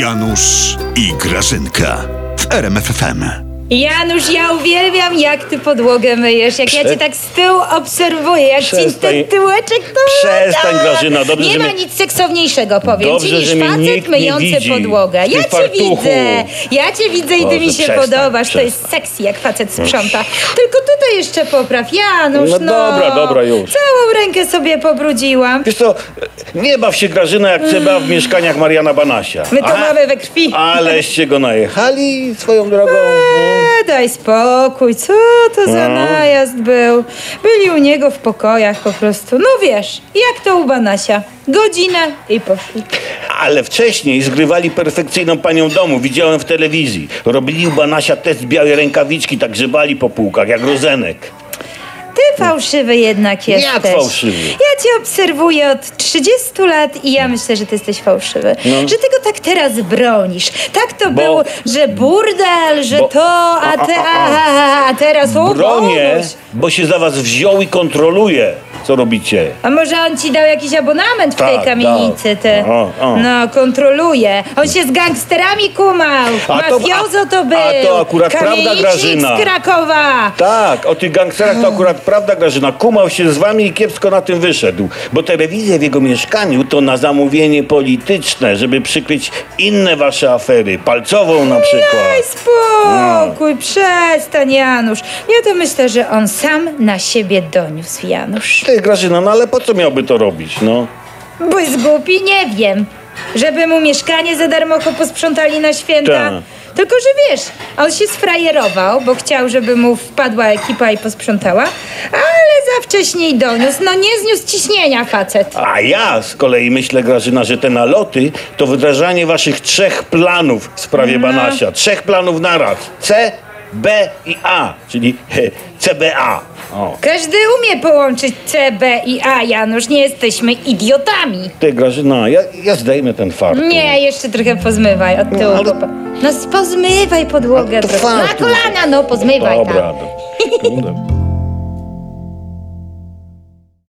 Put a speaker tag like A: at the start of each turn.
A: Janusz i Grażynka w RMFFM.
B: Janusz, ja uwielbiam, jak ty podłogę myjesz, jak ja cię tak z tyłu obserwuję, jak ci
C: Przestań.
B: ten tyłeczek to
C: Przestań,
B: tak.
C: Grażyna, dobrze,
B: Nie
C: że
B: ma
C: mnie-
B: nic seksowniejszego, powiem
C: Dobrze,
B: ci, niż
C: że mnie nikt
B: facet
C: nie
B: myjący
C: widzi,
B: podłogę.
C: ty
B: Ja cię
C: fartuchu.
B: widzę, ja cię widzę i
C: Boże,
B: ty mi się
C: przestań,
B: podobasz, to jest
C: przestań.
B: seksy, jak facet sprząta. Tylko tutaj jeszcze popraw, Janusz,
C: No
B: no.
C: dobra, dobra, już.
B: Całą rękę sobie pobrudziłam.
C: Wiesz co, nie baw się Grażyna jak trzeba w mieszkaniach Mariana Banasia.
B: My to
C: Aha,
B: mamy we krwi.
C: Aleście go najechali swoją drogą.
B: Eee, daj spokój, co to za
C: No.
B: najazd był? Byli u niego w pokojach po prostu. No wiesz, jak to u Banasia. Godzinę i poszli.
C: Ale wcześniej zgrywali perfekcyjną panią domu, widziałem w telewizji. Robili u Banasia test białej rękawiczki, tak grzebali po półkach, jak rozenek.
B: Ty fałszywy jednak
C: Jak
B: jesteś.
C: fałszywy?
B: Ja cię obserwuję od 30 lat i ja myślę, że ty jesteś fałszywy. Że ty go tak teraz bronisz. Tak to
C: No. Bo-
B: było, że burdel, że
C: bo-
B: to, a, te, a, a, a, a teraz o
C: Bronię,
B: Boguś.
C: bo się za was wziął i kontroluje, co robicie.
B: A może on ci dał jakiś abonament w
C: Tak,
B: tej kamienicy, ty?
C: dał. O, o.
B: No, kontroluje. On się z gangsterami kumał.
C: A to-
B: Mafiozo
C: a-
B: to był.
C: a to akurat prawda,
B: Kamienicznik
C: Grażyna.
B: z Krakowa.
C: Tak, o tych gangsterach to akurat prawda, Grażyna. Kumał się z wami i kiepsko na tym wyszedł. Bo telewizja w jego mieszkaniu to na zamówienie polityczne, żeby przykryć inne wasze afery. Palcową na
B: Daj
C: przykład.
B: spokój,
C: Mm.
B: przestań Janusz. Ja to myślę, że on sam na siebie doniósł Janusz.
C: Ty, Grażyna, no ale po co miałby to robić, no?
B: Bo jest głupi, nie wiem. Żeby mu mieszkanie za darmo posprzątali na święta.
C: Tak.
B: Tylko, że wiesz, on się sfrajerował, bo chciał, żeby mu wpadła ekipa i posprzątała, ale za wcześnie i doniósł. No nie zniósł ciśnienia facet.
C: A ja z kolei myślę, Grażyna, że te naloty to wdrażanie waszych trzech planów w sprawie Banasia. Trzech planów naraz. C, B i A, czyli CBA. O.
B: Każdy umie połączyć C, B i A, Janusz. Nie jesteśmy idiotami.
C: Ty, Grażyna, ja, ja zdejmę ten fartuch.
B: Nie, jeszcze trochę pozmywaj od tyłu.
C: No, ale-
B: No, no pozmywaj podłogę
C: to
B: trochę. Na
C: fartuch.
B: kolana, no pozmywaj
C: Dobra,
B: tak.
C: dobra. No dobra.